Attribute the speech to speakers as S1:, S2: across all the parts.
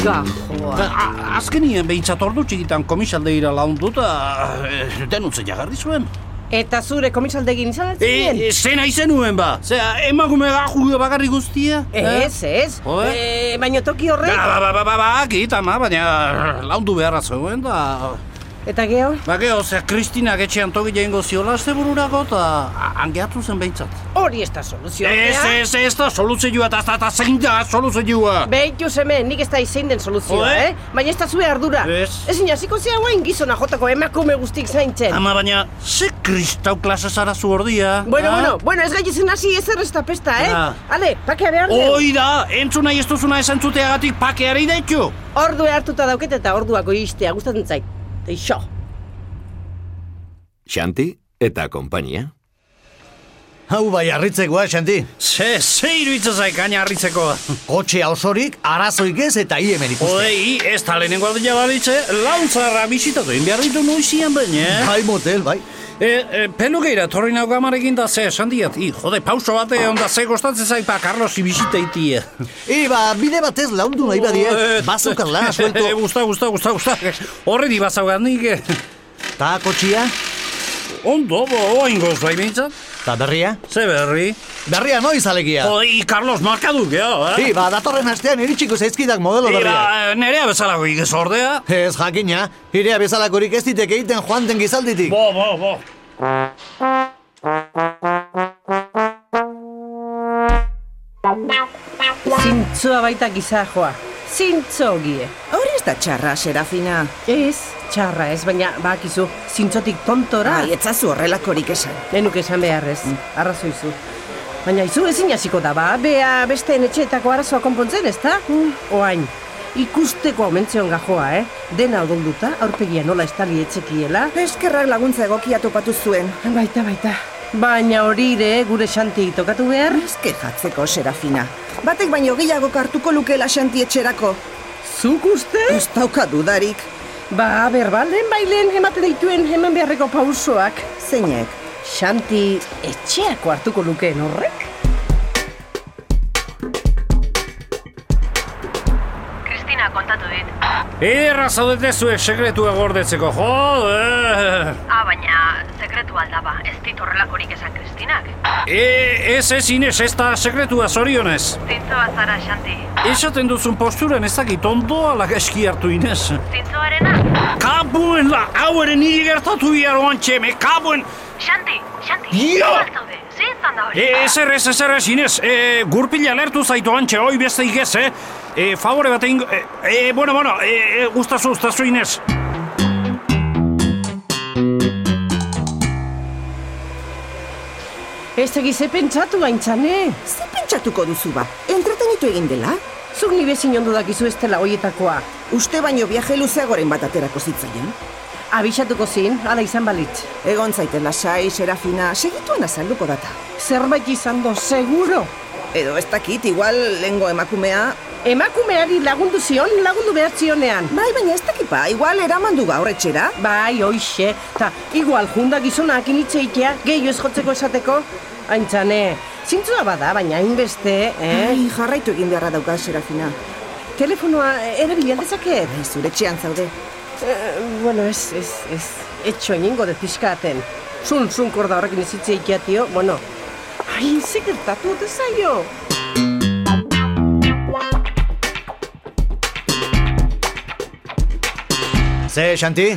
S1: Ba, azkenien behitzat ordu txikitan komisaldeira laundu eta eh, denutze jagarri zuen.
S2: Eta zure komisaldegin izan altzinen?
S1: E, zena izenuen ba, zera emakume da Julio bagarri guztia.
S2: Ez, ez.
S1: Oe?
S2: Eh, Baina toki horrek.
S1: Ba, ba, ba, ba, ba, akit, ama, baina eh, laundu beharra zegoen da...
S2: Eta geho?
S1: Ba, geho, ze Kristinak etxean toki jengo ziola azte bururako eta a- angeatu zen behintzat.
S2: Hori ez da soluzioa.
S1: Ez, ez, ez da soluzioa eta ez da zein da soluzioa.
S2: Beitu seme, nik ez da izein den soluzioa,
S1: Oe?
S2: eh? Baina ez da zure ardura.
S1: Ez.
S2: Ezin hasiko zea guain gizona jotako emakume guztik zaintzen.
S1: Ama, baina, ze kristau klase zara zu ordia.
S2: Bueno,
S1: ah?
S2: bueno, bueno, ez gaitzen hasi ez errezta pesta, eh?
S1: Ah.
S2: Ale, pakea behar dugu.
S1: Hoi da, entzun nahi ez duzuna esantzuteagatik pakeari deitu.
S2: Ordu hartuta dauket eta orduako iristea gustatzen zait. Deixo.
S3: Xanti eta konpainia.
S4: Hau bai harritzekoa, Xanti.
S1: Ze, ze iruitza zaikaina harritzeko.
S4: Kotxea osorik, arazoik ez eta hiemen ikusten.
S1: Odei, ez da lehenengo aldia baditze, launtzarra bisitatu egin behar ditu noizian baina. eh?
S4: Bai motel, bai.
S1: E, e, pelukeira, torri nauk amarekin da ze, esan diat, i, jode, pauso bate, onda ze kostatzen zaipa, Carlos eh? ibisita itia.
S4: E, ba, bide batez laundu nahi badie, bazaukan lan asuelto.
S1: E, Gusta, gusta, gusta, gusta, horri di bazaukan nik, eh,
S4: Ta kotxia,
S1: ondo, bo, oain goz, bai bintzat,
S4: ta berria.
S1: ze berri.
S4: Berria noiz alegia.
S1: Odei, Carlos, markadu, gero, eh?
S4: Hi, ba, datorren astean iritsiko zaizkidak
S1: ba.
S4: modelo berria.
S1: Ira, eh, nerea bezalako igez ordea.
S4: Ez jakina, hirea bezalakorik ez ditek egiten joan den gizalditik.
S1: Bo, bo, bo.
S2: Zintzoa baita giza joa. Zintzo gie.
S5: Hori ez da txarra, Serafina.
S2: Ez, txarra ez, baina bakizu, zintzotik tontora.
S5: Ai, etzazu horrelakorik esan. Mm.
S2: Nenuk esan beharrez, arrazoizu. Baina izu ezin hasiko da, ba, bea besteen etxeetako arazoa konpontzen, ez da?
S5: Mm.
S2: Oain, ikusteko omentzion gajoa, eh? Dena odolduta, aurpegia nola estali etxekiela.
S5: Eskerrak laguntza egokia topatu zuen.
S2: Baita, baita. Baina hori ere, gure xanti tokatu behar,
S5: Eske jatzeko, Serafina. Batek baino gehiago hartuko lukela xanti etxerako.
S2: zuk uste?
S5: Ez dauka dudarik.
S2: Ba, berbalen bailen ematen dituen hemen beharreko pausoak.
S5: Zeinek?
S2: Xanti etxeako hartuko lukeen horrek?
S6: Kristina kontatu dit.
S1: Erra zaudete zuek sekretua gordetzeko, jode!
S6: Ah, baina sekretu aldaba. Ez dit horrelakorik esan Kristinak.
S1: E, ez ez Ines, ez da sekretua zorionez.
S6: Zintzoa zara, Xanti.
S1: Esaten duzun posturan ez dakit ondo ala gaizki hartu Ines.
S6: Zintzoarena?
S1: Kabuen la, hau ere niri gertatu bihar oantxeme, kabuen!
S6: Xanti, Xanti.
S1: Io!
S6: Zer zaude? Zein izan da hori?
S1: E, ezer ez, ezer ez Ines, e, gurpila lertu zaitu antxe, hoi beste igez, eh? E, favore bat egingo, e, e, bueno, bueno, e, e, ustazu, ustazu Ines.
S2: Ez egize pentsatu eh? aintzane.
S5: Ze pentsatuko duzu ba? Entretenitu egin dela?
S2: Zuk ni bezin ondo dakizu ez dela hoietakoa.
S5: Uste baino viaje luzeagoren bat aterako zitzaion.
S2: Abisatuko zin, ala izan balitz.
S5: Egon zaite lasai, Serafina, segituan azalduko data.
S2: Zerbait izan do, seguro.
S5: Edo ez dakit, igual lengo emakumea...
S2: Emakumeari lagundu zion, lagundu behar zionean.
S5: Bai, baina ez dakit ba, igual eraman du gaur etxera.
S2: Bai, hoixe, ta igual junda gizonak initxe itea, gehiu ez jotzeko esateko. Aintzane, zintzua bada, baina hainbeste, eh?
S5: Ai, jarraitu egin beharra dauka, Serafina.
S2: Telefonoa eh, ere bilan dezaket?
S5: Ai, zure etxean zaude.
S2: Eh, bueno, ez, ez, ez, etxo egingo de pixkaten. Zun, zun korda horrekin ezitze ikia, tio, bueno. Ai, ze gertatu ote zaio.
S4: Ze, Xanti,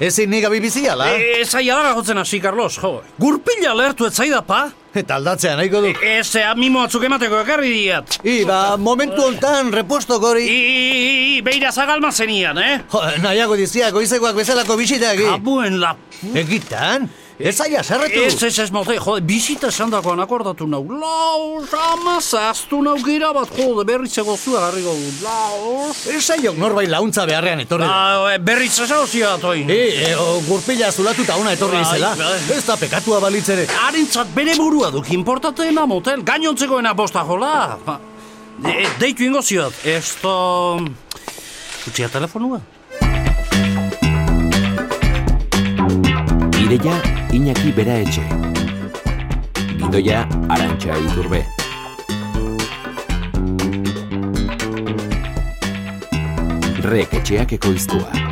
S4: ezin nik abi biziala.
S1: E, ez aia dara jotzen hasi, Carlos, jo. Gurpila lertu ez zaida, pa?
S4: Eta aldatzea nahiko dut.
S1: Ez, ea, mimo atzuk emateko ekarri diat.
S4: Hi, ba, momentu hontan reposto
S1: I,
S4: gori.
S1: I, i, i, beira zagalma zenian, eh?
S4: Jo, nahiago dizia goizekoak bezalako bisitak. hi.
S1: Kabuen la
S4: Hm? Egitan, ez aia zerretu.
S1: Eh, Ez, ez, ez, molte, jode, bizita esandakoan akordatu nau. Laos, ama, zaztu nau gira bat, jode, berriz egozua garriko du. Laos.
S4: Ez aiok norbait launtza beharrean etorri. da.
S1: Ba, e, berriz ezauzia atoin.
S4: E, e, o, gurpila zulatuta ona etorri
S1: Bai,
S4: izela.
S1: bai.
S4: Ez da pekatua balitzere.
S1: Harentzat bere burua duk, importateena motel, gainontzekoena bosta jola. Ba, e, e, deitu ingo ziot, ez da... Utsia telefonua.
S3: Ideia Iñaki Bera Etxe. Gidoia Arantxa Iturbe. Rek etxeak ekoiztua.